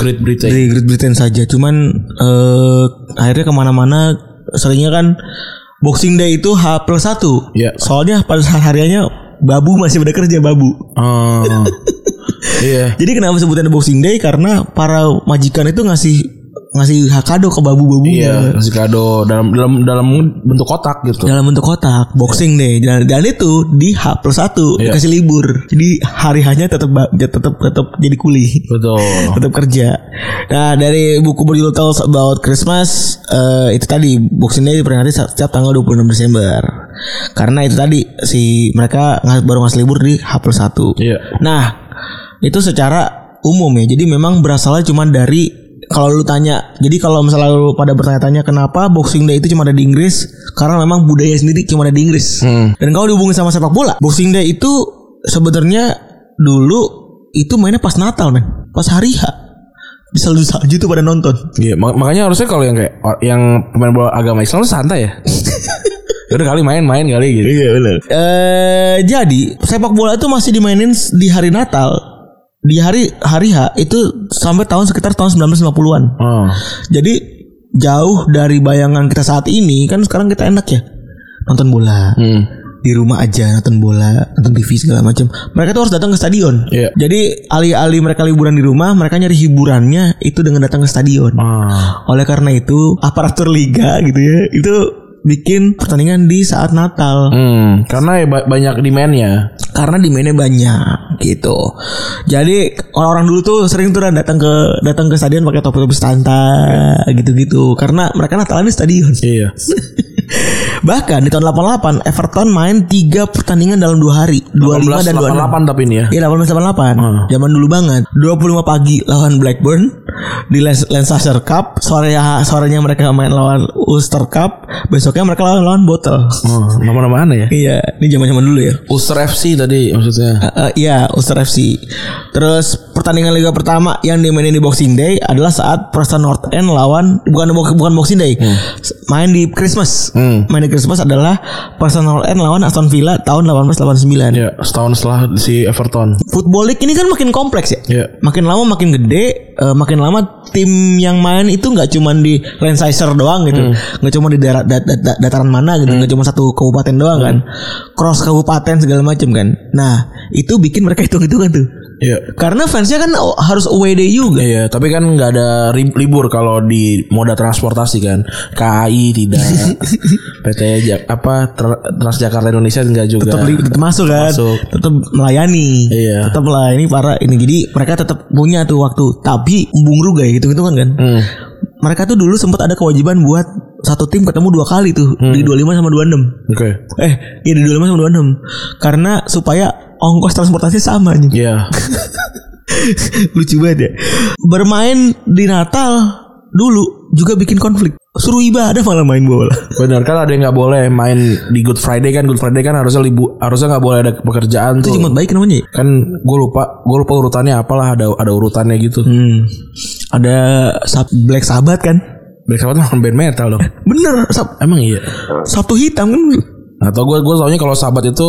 Speaker 3: Great Britain.
Speaker 2: dari Great Britain saja. Cuman eh, akhirnya kemana-mana seringnya kan Boxing Day itu H plus satu.
Speaker 3: Iya.
Speaker 2: Soalnya pada saat hariannya babu masih pada kerja babu.
Speaker 3: Ah. iya.
Speaker 2: Jadi kenapa sebutannya Boxing Day? Karena para majikan itu ngasih ngasih hak kado ke
Speaker 3: Iya,
Speaker 2: babu-babunya
Speaker 3: kasih kado dalam dalam dalam bentuk kotak gitu.
Speaker 2: dalam bentuk kotak Boxing Day dan, dan itu di H plus satu
Speaker 3: Iya.
Speaker 2: dikasih libur. Jadi hari hanya tetap ba- tetap tetap jadi kuli.
Speaker 3: Betul.
Speaker 2: tetap kerja. Nah dari buku berjudul Tales About Christmas eh, itu tadi Boxing Day diperingati setiap tanggal 26 Desember. Karena itu tadi si mereka ngas- baru ngasih libur di H 1.
Speaker 3: Iya.
Speaker 2: Nah itu secara umum ya. Jadi memang berasalnya cuma dari kalau lu tanya, jadi kalau misalnya lu pada bertanya-tanya kenapa Boxing Day itu cuma ada di Inggris, karena memang budaya sendiri cuma ada di Inggris.
Speaker 3: Hmm.
Speaker 2: Dan kalau dihubungin sama sepak bola, Boxing Day itu sebenarnya dulu itu mainnya pas Natal men, pas hari H. Di salju-salju tuh pada nonton.
Speaker 3: Iya, mak- makanya harusnya kalau yang kayak or- yang pemain bola agama Islam tuh santai ya. Udah kali main-main kali gitu.
Speaker 2: Iya benar. Eh jadi sepak bola itu masih dimainin di hari Natal di hari hari H itu sampai tahun sekitar tahun 1950-an.
Speaker 3: Oh.
Speaker 2: Jadi jauh dari bayangan kita saat ini kan sekarang kita enak ya nonton bola.
Speaker 3: Hmm.
Speaker 2: di rumah aja nonton bola, nonton TV segala macam. Mereka tuh harus datang ke stadion.
Speaker 3: Iya.
Speaker 2: Jadi alih-alih mereka liburan di rumah, mereka nyari hiburannya itu dengan datang ke stadion.
Speaker 3: Ah.
Speaker 2: Oleh karena itu, aparatur liga gitu ya, itu bikin pertandingan di saat Natal
Speaker 3: Hmm, karena ya ba- banyak demand-nya.
Speaker 2: karena demandnya banyak gitu. Jadi orang-orang dulu tuh sering tuh Ran, datang ke datang ke stadion pakai topi-topi santai gitu-gitu karena mereka Natalan di stadion.
Speaker 3: Iya.
Speaker 2: Bahkan di tahun 88 Everton main 3 pertandingan dalam 2 hari, 25 dan 26.
Speaker 3: 1888 tapi ini ya.
Speaker 2: Iya 1888 Zaman dulu banget 25 pagi lawan Blackburn Di Lans- Lancashire Cup sore ya, Sorenya mereka main lawan Ulster Cup Besoknya mereka lawan, lawan Bottle
Speaker 3: Oh, nama-nama aneh ya.
Speaker 2: Iya Ini zaman-zaman dulu ya
Speaker 3: Ulster FC tadi maksudnya.
Speaker 2: Eh, eh, Iya Ulster FC Terus pertandingan Liga pertama Yang dimainin di Boxing Day Adalah saat Preston North End lawan Bukan bukan Boxing Day S- Main di Christmas
Speaker 3: Hmm.
Speaker 2: Main di Christmas adalah Preston North End lawan Aston Villa Tahun 1889
Speaker 3: Ya, setahun setelah si Everton.
Speaker 2: Football League ini kan makin kompleks ya
Speaker 3: Ya.
Speaker 2: makin lama makin gede eh, makin lama tim yang main itu nggak cuman di Lancashire doang gitu
Speaker 3: Hmm.
Speaker 2: nggak cuma di daerah da- da- da- dataran mana gitu nggak cuma satu kabupaten doang
Speaker 3: Hmm.
Speaker 2: kan cross kabupaten segala macam kan nah itu bikin mereka hitung hitungan tuh
Speaker 3: Iya.
Speaker 2: karena fansnya kan o- harus away day juga
Speaker 3: Iya, tapi kan nggak ada ri- libur kalau di moda transportasi kan. KAI tidak. PT Jak- apa Tra- Transjakarta Indonesia enggak juga.
Speaker 2: tetap, li- tetap masuk kan
Speaker 3: Masuk.
Speaker 2: tetap melayani
Speaker 3: Iya.
Speaker 2: tetap melayani para ini jadi mereka tetap punya tuh waktu tapi embung ruga ya gitu hitungan kan
Speaker 3: Hmm.
Speaker 2: mereka tuh dulu sempat ada kewajiban buat satu tim ketemu dua kali tuh
Speaker 3: Hmm.
Speaker 2: di 25 sama 26
Speaker 3: Oke.
Speaker 2: Eh, iya di 25 sama 26. Karena supaya ongkos transportasi sama anjing.
Speaker 3: Iya.
Speaker 2: Lucu banget ya. Bermain di Natal dulu juga bikin konflik. Suruh ibadah malah main bola.
Speaker 3: Benar kan ada yang nggak boleh main di Good Friday kan Good Friday kan harusnya libu harusnya nggak boleh ada pekerjaan
Speaker 2: Itu
Speaker 3: tuh.
Speaker 2: Jumat baik namanya ya?
Speaker 3: Kan gue lupa gue lupa urutannya apalah ada ada urutannya gitu.
Speaker 2: Hmm. Ada Sab- Black Sabbath kan?
Speaker 3: Black Sabbath mah band metal dong.
Speaker 2: Bener, Sab-
Speaker 3: Emang iya.
Speaker 2: Sabtu hitam kan?
Speaker 3: Nah, tau gue gue soalnya kalau sahabat itu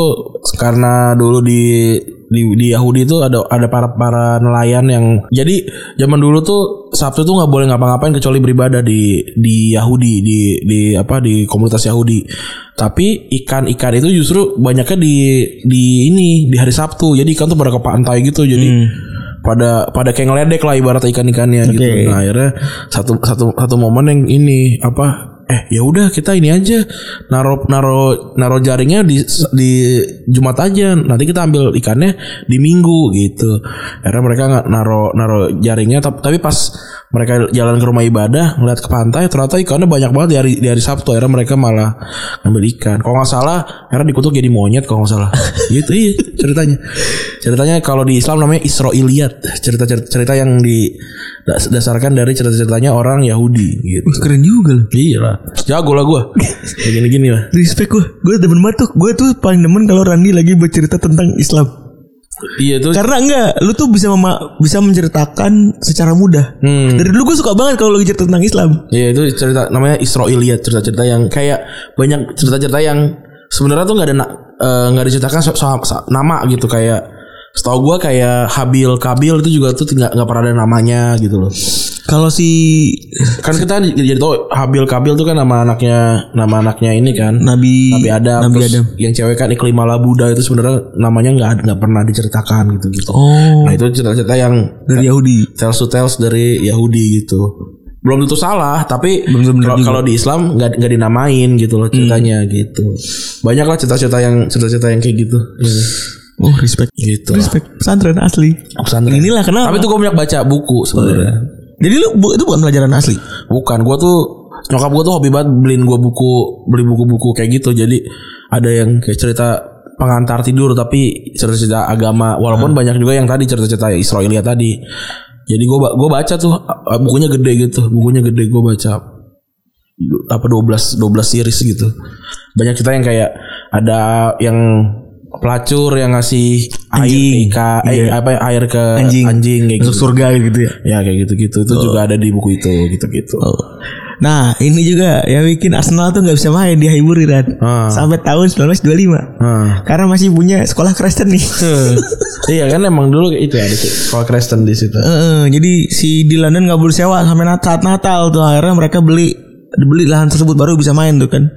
Speaker 3: karena dulu di di, di Yahudi itu ada ada para para nelayan yang jadi zaman dulu tuh Sabtu tuh nggak boleh ngapa-ngapain kecuali beribadah di di Yahudi di di apa di komunitas Yahudi. Tapi ikan-ikan itu justru banyaknya di di ini di hari Sabtu. Jadi ikan tuh pada ke pantai gitu. Jadi pada pada kayak ngeledek lah ibarat ikan-ikannya gitu.
Speaker 2: Oke.
Speaker 3: Nah, akhirnya satu satu satu momen yang ini apa eh ya udah kita ini aja naro naro naro jaringnya di di Jumat aja nanti kita ambil ikannya di Minggu gitu akhirnya mereka nggak naro naro jaringnya tap- tapi pas mereka jalan ke rumah ibadah ngeliat ke pantai ternyata ikannya banyak banget di hari, di hari Sabtu akhirnya mereka malah ngambil ikan kalau nggak salah akhirnya dikutuk jadi monyet kalau nggak salah gitu iya ceritanya ceritanya kalau di Islam namanya Israiliyat cerita cerita, cerita yang didasarkan dari cerita ceritanya orang Yahudi gitu
Speaker 2: Keren juga loh.
Speaker 3: Iya lah Jago lah gue Kayak gini-gini lah
Speaker 2: Respect gue. Gue demen banget tuh. Gue tuh paling demen kalau Randi lagi bercerita tentang Islam.
Speaker 3: Iya tuh
Speaker 2: Karena enggak, lu tuh bisa mema- bisa menceritakan secara mudah.
Speaker 3: Hmm.
Speaker 2: Dari dulu gue suka banget kalau lagi cerita tentang Islam.
Speaker 3: Iya itu cerita Namanya Israiliyat Cerita-cerita yang kayak Banyak cerita-cerita yang sebenarnya tuh nggak ada na- eh, nggak diceritakan so- so- so- nama gitu kayak setahu gue kayak Habil Kabil itu juga tuh nggak nggak pernah ada namanya gitu loh
Speaker 2: Kalau si
Speaker 3: kan kita j- jadi tau Habil Kabil tuh kan nama anaknya nama anaknya ini kan
Speaker 2: Nabi
Speaker 3: Nabi Adam,
Speaker 2: Nabi
Speaker 3: terus
Speaker 2: Adam.
Speaker 3: yang cewek kan Iklimala Buddha itu sebenarnya namanya nggak ada- nggak pernah diceritakan gitu gitu
Speaker 2: Oh.
Speaker 3: nah itu cerita-cerita yang
Speaker 2: dari Yahudi.
Speaker 3: tales to tales dari Yahudi gitu belum tentu salah tapi kalau kalau di Islam nggak nggak dinamain gitu loh ceritanya gitu banyak lah cerita-cerita yang cerita-cerita yang kayak gitu
Speaker 2: Oh, respect.
Speaker 3: gitu lah.
Speaker 2: Respect pesantren asli.
Speaker 3: Pesantren.
Speaker 2: Inilah kenapa.
Speaker 3: tapi tuh gue banyak baca buku sebenarnya
Speaker 2: Jadi lu bu- itu bukan pelajaran asli.
Speaker 3: bukan gue tuh nyokap gue tuh hobi banget beliin gue buku beli buku-buku kayak gitu jadi ada yang kayak cerita pengantar tidur tapi cerita-cerita agama walaupun banyak juga yang tadi cerita-cerita Israelia tadi jadi gue gue baca tuh eh, bukunya gede gitu bukunya gede gue baca du- apa 12 12 series gitu. Banyak cerita yang kayak ada yang pelacur yang ngasih air ke eh, apa ya, air ke anjing, kayak gitu.
Speaker 2: surga gitu ya.
Speaker 3: Ya kayak gitu-gitu itu juga ada di buku itu gitu-gitu.
Speaker 2: Nah, ini juga yang bikin Arsenal tuh nggak bisa main di Highbury Ran.
Speaker 3: Ah.
Speaker 2: Sampai tahun 1925.
Speaker 3: Nah.
Speaker 2: Karena masih punya sekolah Kristen nih.
Speaker 3: iya kan emang dulu itu ada sekolah Kristen di situ.
Speaker 2: Eh, jadi si di London nggak boleh sewa sampai nat- saat Natal tuh akhirnya mereka beli beli lahan tersebut baru bisa main tuh kan.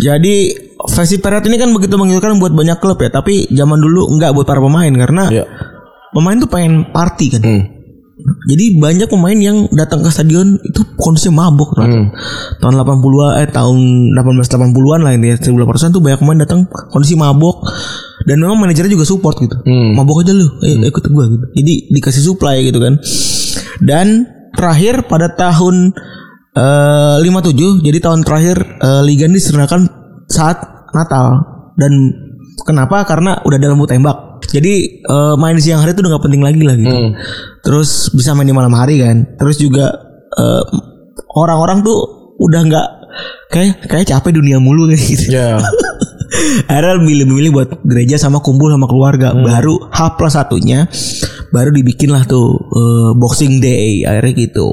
Speaker 2: Jadi Festi Period ini kan begitu menggiurkan buat banyak klub ya, tapi zaman dulu nggak buat para pemain karena
Speaker 3: Iya.
Speaker 2: pemain tuh pengen party kan.
Speaker 3: Hmm.
Speaker 2: Jadi banyak pemain yang datang ke stadion itu kondisi mabuk ternyata. Tahun 80-an eh tahun 1880-an lah ini ya. 1800-an tuh banyak pemain datang kondisi mabuk dan memang manajernya juga support gitu. Mabuk aja lu, ayo ikut gua gitu. Jadi dikasih supply gitu kan. Dan terakhir pada tahun eh, 57 jadi tahun terakhir eh, liga ini diselenggarakan saat Natal dan kenapa karena udah ada lampu tembak. Jadi eh, main di siang hari itu udah gak penting lagi lah gitu terus bisa main di malam hari kan terus juga eh, orang-orang tuh udah nggak kayak kayak capek dunia mulu kayak gitu
Speaker 3: Ya.
Speaker 2: akhirnya milih-milih buat gereja sama kumpul sama keluarga baru H plus satunya baru dibikin lah tuh eh, boxing day akhirnya gitu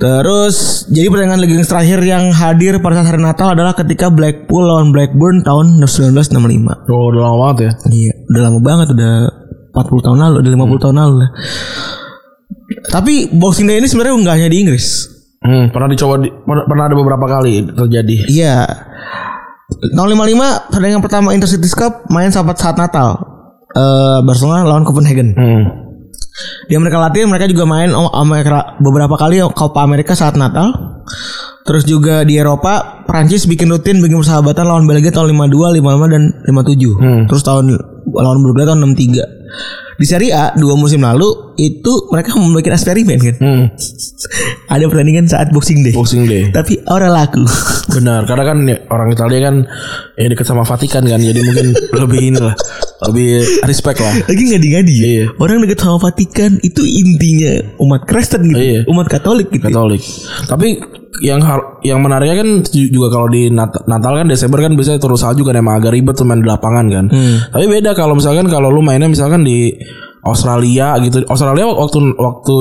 Speaker 2: Terus jadi pertandingan leggings terakhir yang hadir pada saat hari Natal adalah ketika Blackpool lawan Blackburn tahun 1965.
Speaker 3: Oh, udah lama banget ya.
Speaker 2: Iya, udah lama banget udah 40 tahun lalu, udah 50 tahun lalu lah. Tapi Boxing Day ini sebenarnya nggak hanya di Inggris.
Speaker 3: Hmm, pernah dicoba di- pernah pernah ada beberapa kali terjadi.
Speaker 2: Iya. Tahun 55 pertandingan pertama Intercities Cup main saat saat Natal. Eh Barcelona lawan Copenhagen.
Speaker 3: Hmm.
Speaker 2: Di Amerika Latin mereka juga main o- Amerika, beberapa kali Copa America saat Natal. Terus juga di Eropa, Prancis bikin rutin bikin persahabatan lawan Belgia tahun 52, 55 dan 57. Terus tahun lawan Bulgaria tahun 63. Di Serie A dua musim lalu itu mereka membuat eksperimen kan.
Speaker 3: Hmm.
Speaker 2: Ada pertandingan saat Boxing Day.
Speaker 3: Boxing Day.
Speaker 2: Tapi orang laku.
Speaker 3: Benar, karena kan ya, orang Italia kan ya dekat sama Vatikan kan, jadi mungkin lebih inilah, lebih respect lah.
Speaker 2: Lagi ngadi-ngadi ya.
Speaker 3: Iya.
Speaker 2: Orang dekat sama Vatikan itu intinya umat Kristen gitu,
Speaker 3: Iya.
Speaker 2: umat Katolik gitu.
Speaker 3: Katolik. Tapi yang har- yang menariknya kan ju- juga kalau di Nat- Natal kan Desember kan biasanya terus salju kan emang agak ribet tuh main di lapangan kan. Tapi beda kalau misalkan kalau lu mainnya misalkan di Australia gitu. Australia wak- waktu waktu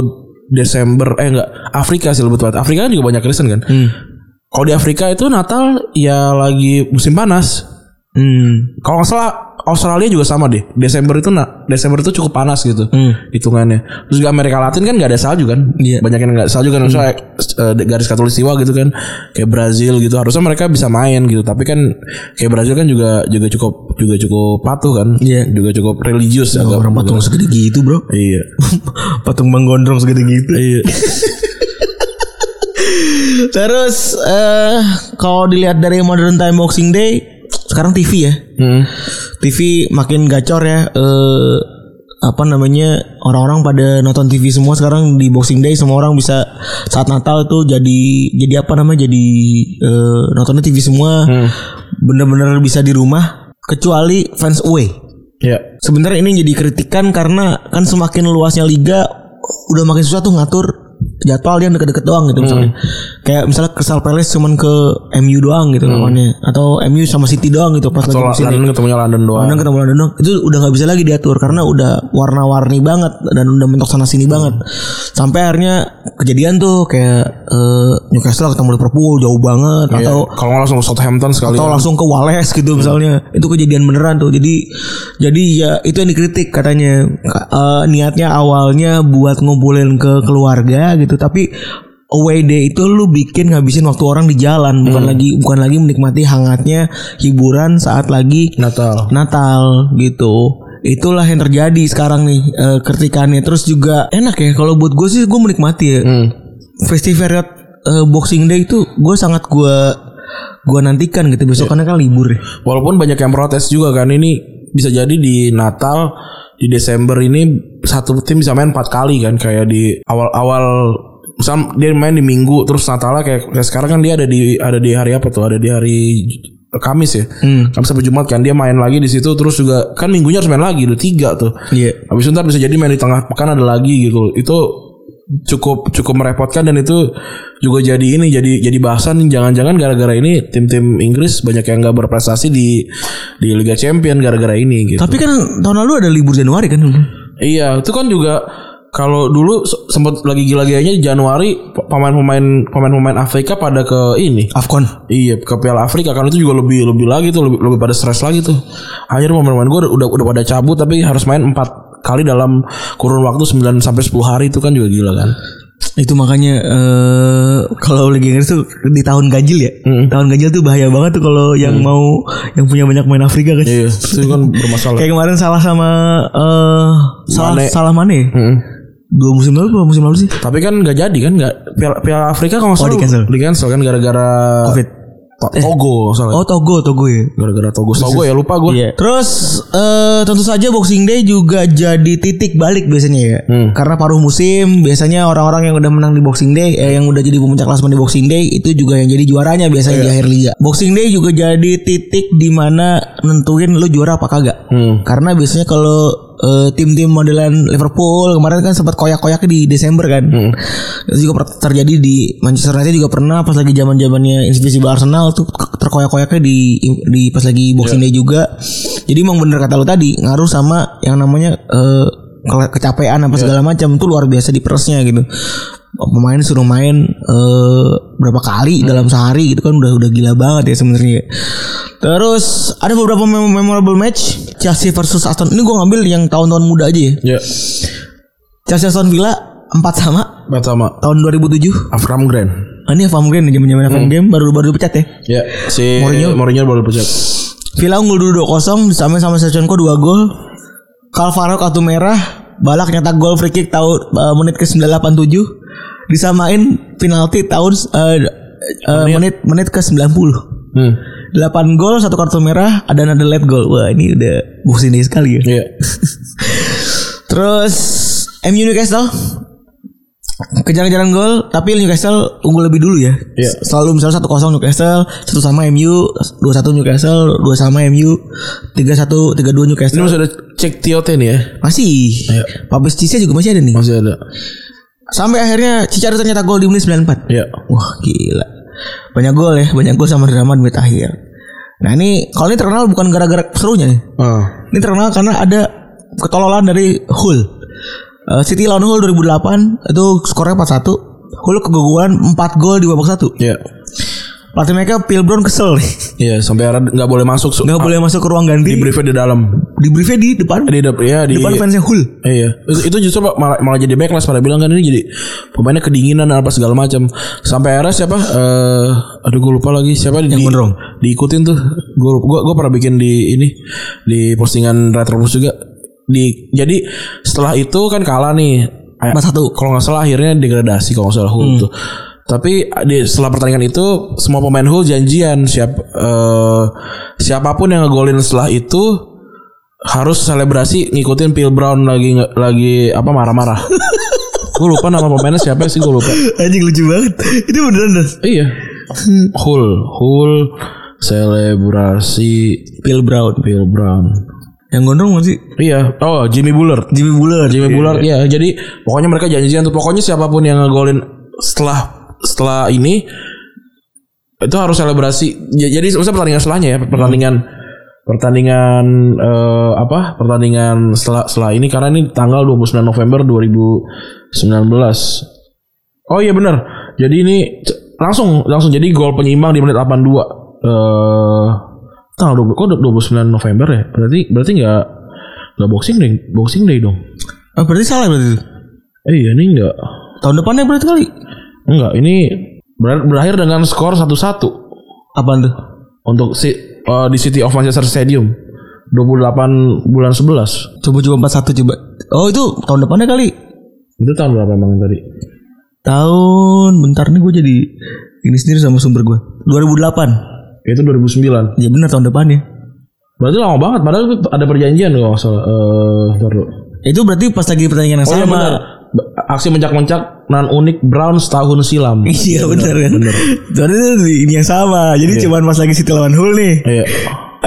Speaker 3: Desember eh enggak Afrika sih lebih tepat. Afrika kan juga banyak Kristen kan.
Speaker 2: Hmm.
Speaker 3: Kalau di Afrika itu Natal ya lagi musim panas.
Speaker 2: Hmm.
Speaker 3: Kalau nggak salah Australia juga sama deh. Desember itu nah, Desember itu cukup panas gitu hitungannya. Terus juga Amerika Latin kan nggak ada salju
Speaker 2: Hmm.
Speaker 3: kan?
Speaker 2: Iya. Hmm.
Speaker 3: Banyak yang nggak salju kan? Misalnya eh, garis katulistiwa gitu kan, kayak Brazil gitu. Harusnya mereka bisa main gitu. Tapi kan kayak Brazil kan juga juga cukup juga cukup patuh kan?
Speaker 2: Iya.
Speaker 3: Juga cukup religius agak
Speaker 2: Orang patung segede gitu, Bro. Iya.
Speaker 3: Iya.
Speaker 2: patung Bang Gondrong segede gitu.
Speaker 3: Iya.
Speaker 2: Terus eh kalau dilihat dari Modern Time Boxing Day sekarang TV ya.
Speaker 3: Hmm.
Speaker 2: TV makin gacor ya. Eh apa namanya orang-orang pada nonton TV semua sekarang di Boxing Day semua orang bisa saat Natal tuh jadi jadi apa namanya jadi eh, nontonnya TV semua
Speaker 3: Hmm.
Speaker 2: bener-bener bisa di rumah kecuali fans away
Speaker 3: Ya.
Speaker 2: sebenarnya ini jadi kritikan karena kan semakin luasnya liga udah makin susah tuh ngatur jadwal yang deket-deket doang gitu misalnya. Kayak misalnya Crystal Palace cuman ke MU doang gitu lawannya atau MU sama City doang gitu pas lagi
Speaker 3: Soal
Speaker 2: musim
Speaker 3: London ketemunya London doang.
Speaker 2: Kadang ketemu London doang, itu udah nggak bisa lagi diatur karena udah warna-warni banget dan udah mentok sana sini banget. Sampai akhirnya kejadian tuh kayak eh, Newcastle ketemu Liverpool jauh banget
Speaker 3: Iya.
Speaker 2: atau
Speaker 3: kalau nggak langsung ke Southampton sekali.
Speaker 2: atau langsung ke Wales gitu misalnya itu kejadian beneran tuh jadi jadi ya itu yang dikritik katanya Eh, niatnya awalnya buat ngumpulin ke keluarga gitu tapi away day itu lu bikin ngabisin waktu orang di jalan bukan lagi bukan lagi menikmati hangatnya hiburan saat lagi
Speaker 3: Natal.
Speaker 2: Natal gitu itulah yang terjadi sekarang nih eh, kritikannya terus juga enak ya kalau buat gue sih gue menikmati ya
Speaker 3: Hmm.
Speaker 2: festival eh, Boxing Day itu gue sangat gue gue nantikan gitu besok karena kan libur ya.
Speaker 3: Walaupun banyak yang protes juga kan ini bisa jadi di Natal di Desember ini satu tim bisa main 4 kali kan kayak di awal-awal misal dia main di Minggu terus Natalnya kayak, kayak sekarang kan dia ada di ada di hari apa tuh ada di hari Kamis ya.
Speaker 2: Hmm.
Speaker 3: Kamis sampai Jumat kan dia main lagi di situ terus juga kan minggunya harus main lagi udah tiga tuh.
Speaker 2: Iya.
Speaker 3: Habis itu ntar bisa jadi main di tengah pekan ada lagi gitu. Itu cukup cukup merepotkan dan itu juga jadi ini jadi jadi bahasan jangan-jangan gara-gara ini tim-tim Inggris banyak yang nggak berprestasi di di Liga Champion gara-gara ini gitu.
Speaker 2: Tapi kan tahun lalu ada libur Januari kan.
Speaker 3: Iya, itu kan juga kalau dulu se- sempet lagi gila-gilanya di Januari pe- pemain-pemain pemain-pemain Afrika pada ke ini
Speaker 2: Afcon.
Speaker 3: Iya ke Piala Afrika kan itu juga lebih lebih lagi tuh lebih, lebih pada stres lagi tuh. Akhirnya pemain-pemain gue udah udah pada cabut tapi harus main 4 kali dalam kurun waktu 9 sampai 10 hari itu kan juga gila kan.
Speaker 2: Itu makanya eh kalau Liga Inggris tuh di tahun ganjil ya. Tahun ganjil tuh bahaya banget tuh kalau yang mau yang punya banyak main Afrika kan.
Speaker 3: Iya, itu kan bermasalah.
Speaker 2: Kayak kemarin salah sama eh salah
Speaker 3: Mane.
Speaker 2: salah mana ya?
Speaker 3: Mm-mm.
Speaker 2: Dua musim lalu dua musim lalu sih.
Speaker 3: Tapi kan nggak jadi kan nggak Piala, Piala Afrika kalau nggak
Speaker 2: Oh,
Speaker 3: salah
Speaker 2: di-cancel.
Speaker 3: di-cancel kan gara-gara
Speaker 2: Covid.
Speaker 3: To- Togo kalau nggak salah.
Speaker 2: Oh Iya. Togo Togo ya.
Speaker 3: Gara-gara Togo. Togo ya lupa gue.
Speaker 2: Terus eh, tentu saja Boxing Day juga jadi titik balik biasanya ya. Karena paruh musim biasanya orang-orang yang udah menang di Boxing Day eh, yang udah jadi pemuncak klasemen di Boxing Day itu juga yang jadi juaranya biasanya di akhir liga. Boxing Day juga jadi titik di mana nentuin lu juara apa kagak.
Speaker 3: Hmm.
Speaker 2: Karena biasanya kalau eh, tim-tim modelan Liverpool kemarin kan sempat koyak-koyak di Desember kan. Itu juga per- terjadi di Manchester United juga pernah pas lagi zaman-zamannya Invisible Arsenal tuh ke- terkoyak-koyaknya di di pas lagi Boxing Day juga. Jadi emang bener kata lu tadi ngaruh sama yang namanya eh, ke- kecapean apa segala macam tuh luar biasa di persnya gitu. Pemain suruh main eh, berapa kali dalam sehari gitu kan udah udah gila banget ya sebenarnya. Terus ada beberapa mem- memorable match Chelsea versus Aston. Ini gue ngambil yang tahun-tahun muda aja ya.
Speaker 3: Ya.
Speaker 2: Chelsea Aston Villa 4 sama
Speaker 3: Pertama
Speaker 2: tahun 2007.
Speaker 3: Avram Grand.
Speaker 2: Ah, ini Farm Game nih zaman-zaman Farm Game baru baru dipecat ya.
Speaker 3: Ya, si
Speaker 2: Mourinho.
Speaker 3: Mourinho baru pecat.
Speaker 2: Villa unggul dulu 2-0 disamain sama Shevchenko 2 gol. Calvaro kartu merah, Balak nyetak gol free kick tahun eh, menit ke 987 disamain penalti tahun eh, eh, menit menit ke 90.
Speaker 3: Hmm.
Speaker 2: 8 gol, satu kartu merah, ada another late goal. Wah, ini udah boxing day sekali ya.
Speaker 3: Iya.
Speaker 2: Terus MU Newcastle kejar-kejaran gol tapi Newcastle unggul lebih dulu ya.
Speaker 3: Iya.
Speaker 2: Selalu misalnya satu kosong Newcastle, satu sama MU, dua satu Newcastle, dua sama MU, tiga satu tiga dua
Speaker 3: Ini
Speaker 2: Newcastle.
Speaker 3: masih ada cek TOT nih ya.
Speaker 2: Masih.
Speaker 3: Iya.
Speaker 2: Papis Cisse juga masih ada nih.
Speaker 3: Masih ada.
Speaker 2: Sampai akhirnya Cicaro ternyata gol di menit 94.
Speaker 3: Iya.
Speaker 2: Wah gila Banyak gol ya Banyak gol sama drama di menit akhir Nah ini Kalau ini terkenal bukan gara-gara serunya nih
Speaker 3: Ah.
Speaker 2: Ini terkenal karena ada Ketololan dari Hull Eh, City lawan Hull 2008 Itu skornya 4-1 Hull keguguran 4 gol di babak 1
Speaker 3: Iya.
Speaker 2: Pelatih mereka Phil Brown kesel nih
Speaker 3: Iya, sampai arah nggak boleh masuk. Su-
Speaker 2: Gak boleh masuk ke ruang ganti
Speaker 3: Di briefnya di dalam.
Speaker 2: Di briefnya di depan
Speaker 3: Di dap- ya di.
Speaker 2: Depan fansnya Hull
Speaker 3: Iya, Itu- itu justru Pak, malah, malah jadi backlash pada bilang kan ini jadi pemainnya kedinginan dan apa segala macam. Sampai akhirnya siapa? Eh, aduh gue lupa lagi siapa yang di,
Speaker 2: gondrong.
Speaker 3: diikutin tuh. Gue gue gue pernah bikin di ini di postingan Retrobus juga. Di jadi setelah itu kan kalah nih. Ay-
Speaker 2: 4-1.
Speaker 3: Kalau nggak salah akhirnya degradasi kalau nggak salah Hull tuh. Tapi ah, di setelah pertandingan itu semua pemain Hull janjian siap eh, siapapun yang ngegolin setelah itu harus selebrasi ngikutin Phil Brown lagi nge- lagi apa marah-marah. gue lupa nama pemainnya siapa sih gue lupa.
Speaker 2: Anjing lucu banget. Itu beneran Nas.
Speaker 3: Iya. Hull, Hull selebrasi
Speaker 2: Phil Brown.
Speaker 3: Phil Brown.
Speaker 2: Yang gondrong nggak sih?
Speaker 3: Iya. Oh, Jimmy Bullard.
Speaker 2: Jimmy Bullard. Iya,
Speaker 3: Jimmy Bullard ya. Jadi pokoknya mereka janjian tuh pokoknya siapapun yang ngegolin setelah setelah ini itu harus selebrasi. J- Jadi maksudnya pertandingan setelahnya ya, pertandingan pertandingan eh, apa? Pertandingan setelah setelah ini karena ini tanggal 29 November 2019. Oh iya benar. Jadi ini c- langsung langsung jadi gol penyeimbang di menit 82. Eh tanggal 20 kok 29 November ya? Berarti berarti nggak nggak boxing day, boxing day dong.
Speaker 2: Ah, berarti salah berarti. itu.
Speaker 3: Eh iya ini enggak.
Speaker 2: Tahun depannya berarti kali.
Speaker 3: Enggak, ini ber- berakhir dengan skor 1-1
Speaker 2: Apaan tuh?
Speaker 3: untuk si eh, di City of Manchester Stadium 28 bulan 11.
Speaker 2: Coba coba empat satu coba. Oh itu tahun depannya kali.
Speaker 3: Itu tahun berapa emang tadi?
Speaker 2: Tahun bentar nih gue jadi ini sendiri sama sumber gue. 2008.
Speaker 3: Itu 2009.
Speaker 2: Ya bener tahun depannya.
Speaker 3: Berarti lama banget padahal itu ada perjanjian kalau nggak salah. Eh, bentar dulu.
Speaker 2: Itu berarti pas lagi pertandingan yang
Speaker 3: Oh iya
Speaker 2: sama.
Speaker 3: benar. Ba- Aksi mencak-mencak nan unik Brown setahun silam.
Speaker 2: Iya benar Iya. kan. Soalnya itu di- ini yang sama. Jadi cuman pas lagi City lawan Hull nih.
Speaker 3: Iya.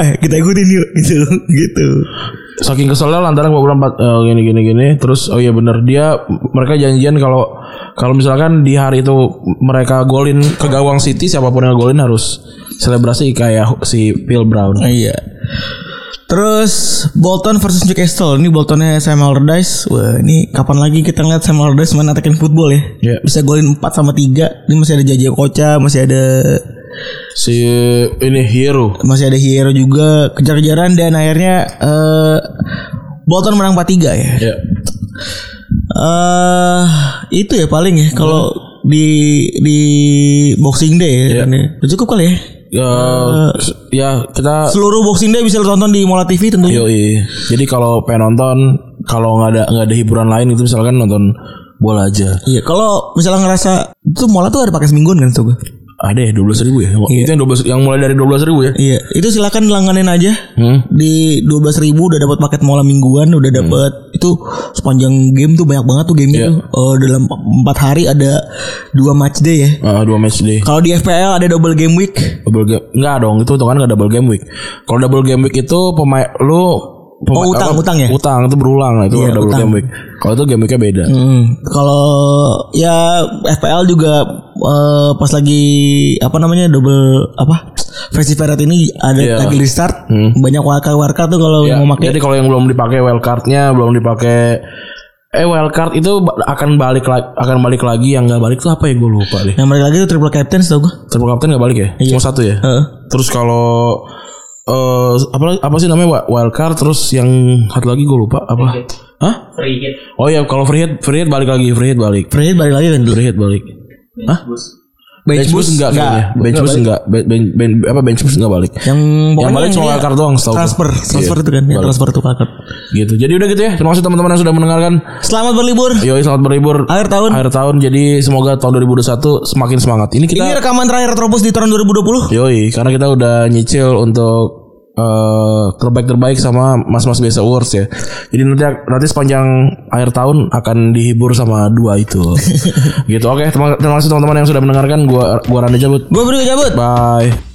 Speaker 2: Eh kita ikutin yuk gitu gitu.
Speaker 3: Saking keselnya lantaran kebobolan empat eh, gini gini gini. Terus oh iya benar dia mereka janjian kalau kalau misalkan di hari itu mereka golin ke gawang City siapapun yang golin harus selebrasi kayak si Phil Brown.
Speaker 2: Nah, iya. Terus Bolton versus Newcastle. Ini Boltonnya Sam Allardyce. Wah, ini kapan lagi kita ngeliat Sam Allardyce main attacking football ya?
Speaker 3: Iya.
Speaker 2: Bisa golin 4 sama 3. Ini masih ada Jaja Koca, masih ada
Speaker 3: Si ini Hero.
Speaker 2: masih ada Hierro juga kejar-kejaran dan akhirnya eh Bolton menang 4-3 ya.
Speaker 3: Ya.
Speaker 2: Eh itu ya paling ya kalau di di Boxing Day ya.
Speaker 3: Iya.
Speaker 2: kan ya. Udah Cukup kali ya.
Speaker 3: Ya, s- ya kita
Speaker 2: Seluruh Boxing Day bisa lo tonton di Mola TV tentunya.
Speaker 3: Yoi. Jadi kalau pengen nonton, kalau nggak ada nggak ada hiburan lain itu misalkan nonton bola aja.
Speaker 2: Iya, kalau misalnya ngerasa itu Mola tuh ada pakai semingguan kan tuh.
Speaker 3: Ada ya dua belas ribu ya. Itu yang 12 yang mulai dari dua belas ribu ya.
Speaker 2: Iya, itu silakan langganin aja.
Speaker 3: Hmm.
Speaker 2: Di 12.000 udah dapat paket Mola mingguan, udah dapat itu sepanjang game tuh banyak banget tuh gamenya
Speaker 3: Iya.
Speaker 2: tuh. Eh, dalam 4 hari ada dua match day ya.
Speaker 3: Ah, dua match day.
Speaker 2: Kalau di FPL ada double game week.
Speaker 3: Double game nggak dong itu tuh kan nggak double game week. Kalau double game week itu pemain lu pemain-
Speaker 2: Oh, utang,
Speaker 3: apa,
Speaker 2: utang ya?
Speaker 3: Utang itu berulang itu
Speaker 2: Iya,
Speaker 3: double
Speaker 2: utang.
Speaker 3: game week. Kalau itu game weeknya beda.
Speaker 2: Hmm, Kalau ya FPL juga eh, pas lagi apa namanya double apa festival ini ada
Speaker 3: Iya.
Speaker 2: lagi di start banyak warka-warka tuh kalau
Speaker 3: Ya,
Speaker 2: mau pakai
Speaker 3: jadi kalau yang belum dipakai wildcardnya belum dipakai eh wildcard itu ba- akan balik lagi akan balik lagi yang nggak balik tuh apa ya gue lupa deh.
Speaker 2: yang mereka lagi tuh triple captain tau gue.
Speaker 3: Triple captain nggak balik ya?
Speaker 2: Iya.
Speaker 3: Cuma satu ya.
Speaker 2: Heeh.
Speaker 3: Terus kalau eh apa apa sih namanya Wa- wildcard terus yang satu lagi gue lupa apa? Hah?
Speaker 4: free hit
Speaker 3: Oh ya kalau free hit free hit balik lagi free hit balik
Speaker 2: Fred balik lagi kan dulu.
Speaker 3: free hit balik. Hah? Bench, boost enggak
Speaker 2: enggak.
Speaker 3: kayaknya. Bench boost enggak. Ben- ben- ben- apa bench boost enggak balik.
Speaker 2: Yang
Speaker 3: Yang
Speaker 2: pokoknya
Speaker 3: balik Iya. cuma
Speaker 2: dia
Speaker 3: wildcard doang setahu gue.
Speaker 2: transfer, transfer itu kan, ya, transfer itu paket.
Speaker 3: Gitu. Jadi udah gitu ya. Terima kasih teman-teman yang sudah mendengarkan.
Speaker 2: Selamat berlibur
Speaker 3: Yoi selamat berlibur
Speaker 2: akhir tahun.
Speaker 3: akhir tahun. Jadi semoga tahun 2021 semakin semangat. Ini kita
Speaker 2: Ini rekaman terakhir Retropus di tahun 2020.
Speaker 3: Yoi, karena kita udah nyicil untuk eh, terbaik-terbaik sama mas-mas biasa awards ya. Jadi nanti nanti sepanjang akhir tahun akan dihibur sama dua itu. gitu. Oke, terima, terima kasih teman-teman yang sudah mendengarkan. Gua gua Randa cabut.
Speaker 2: Gue beri cabut.
Speaker 3: Bye.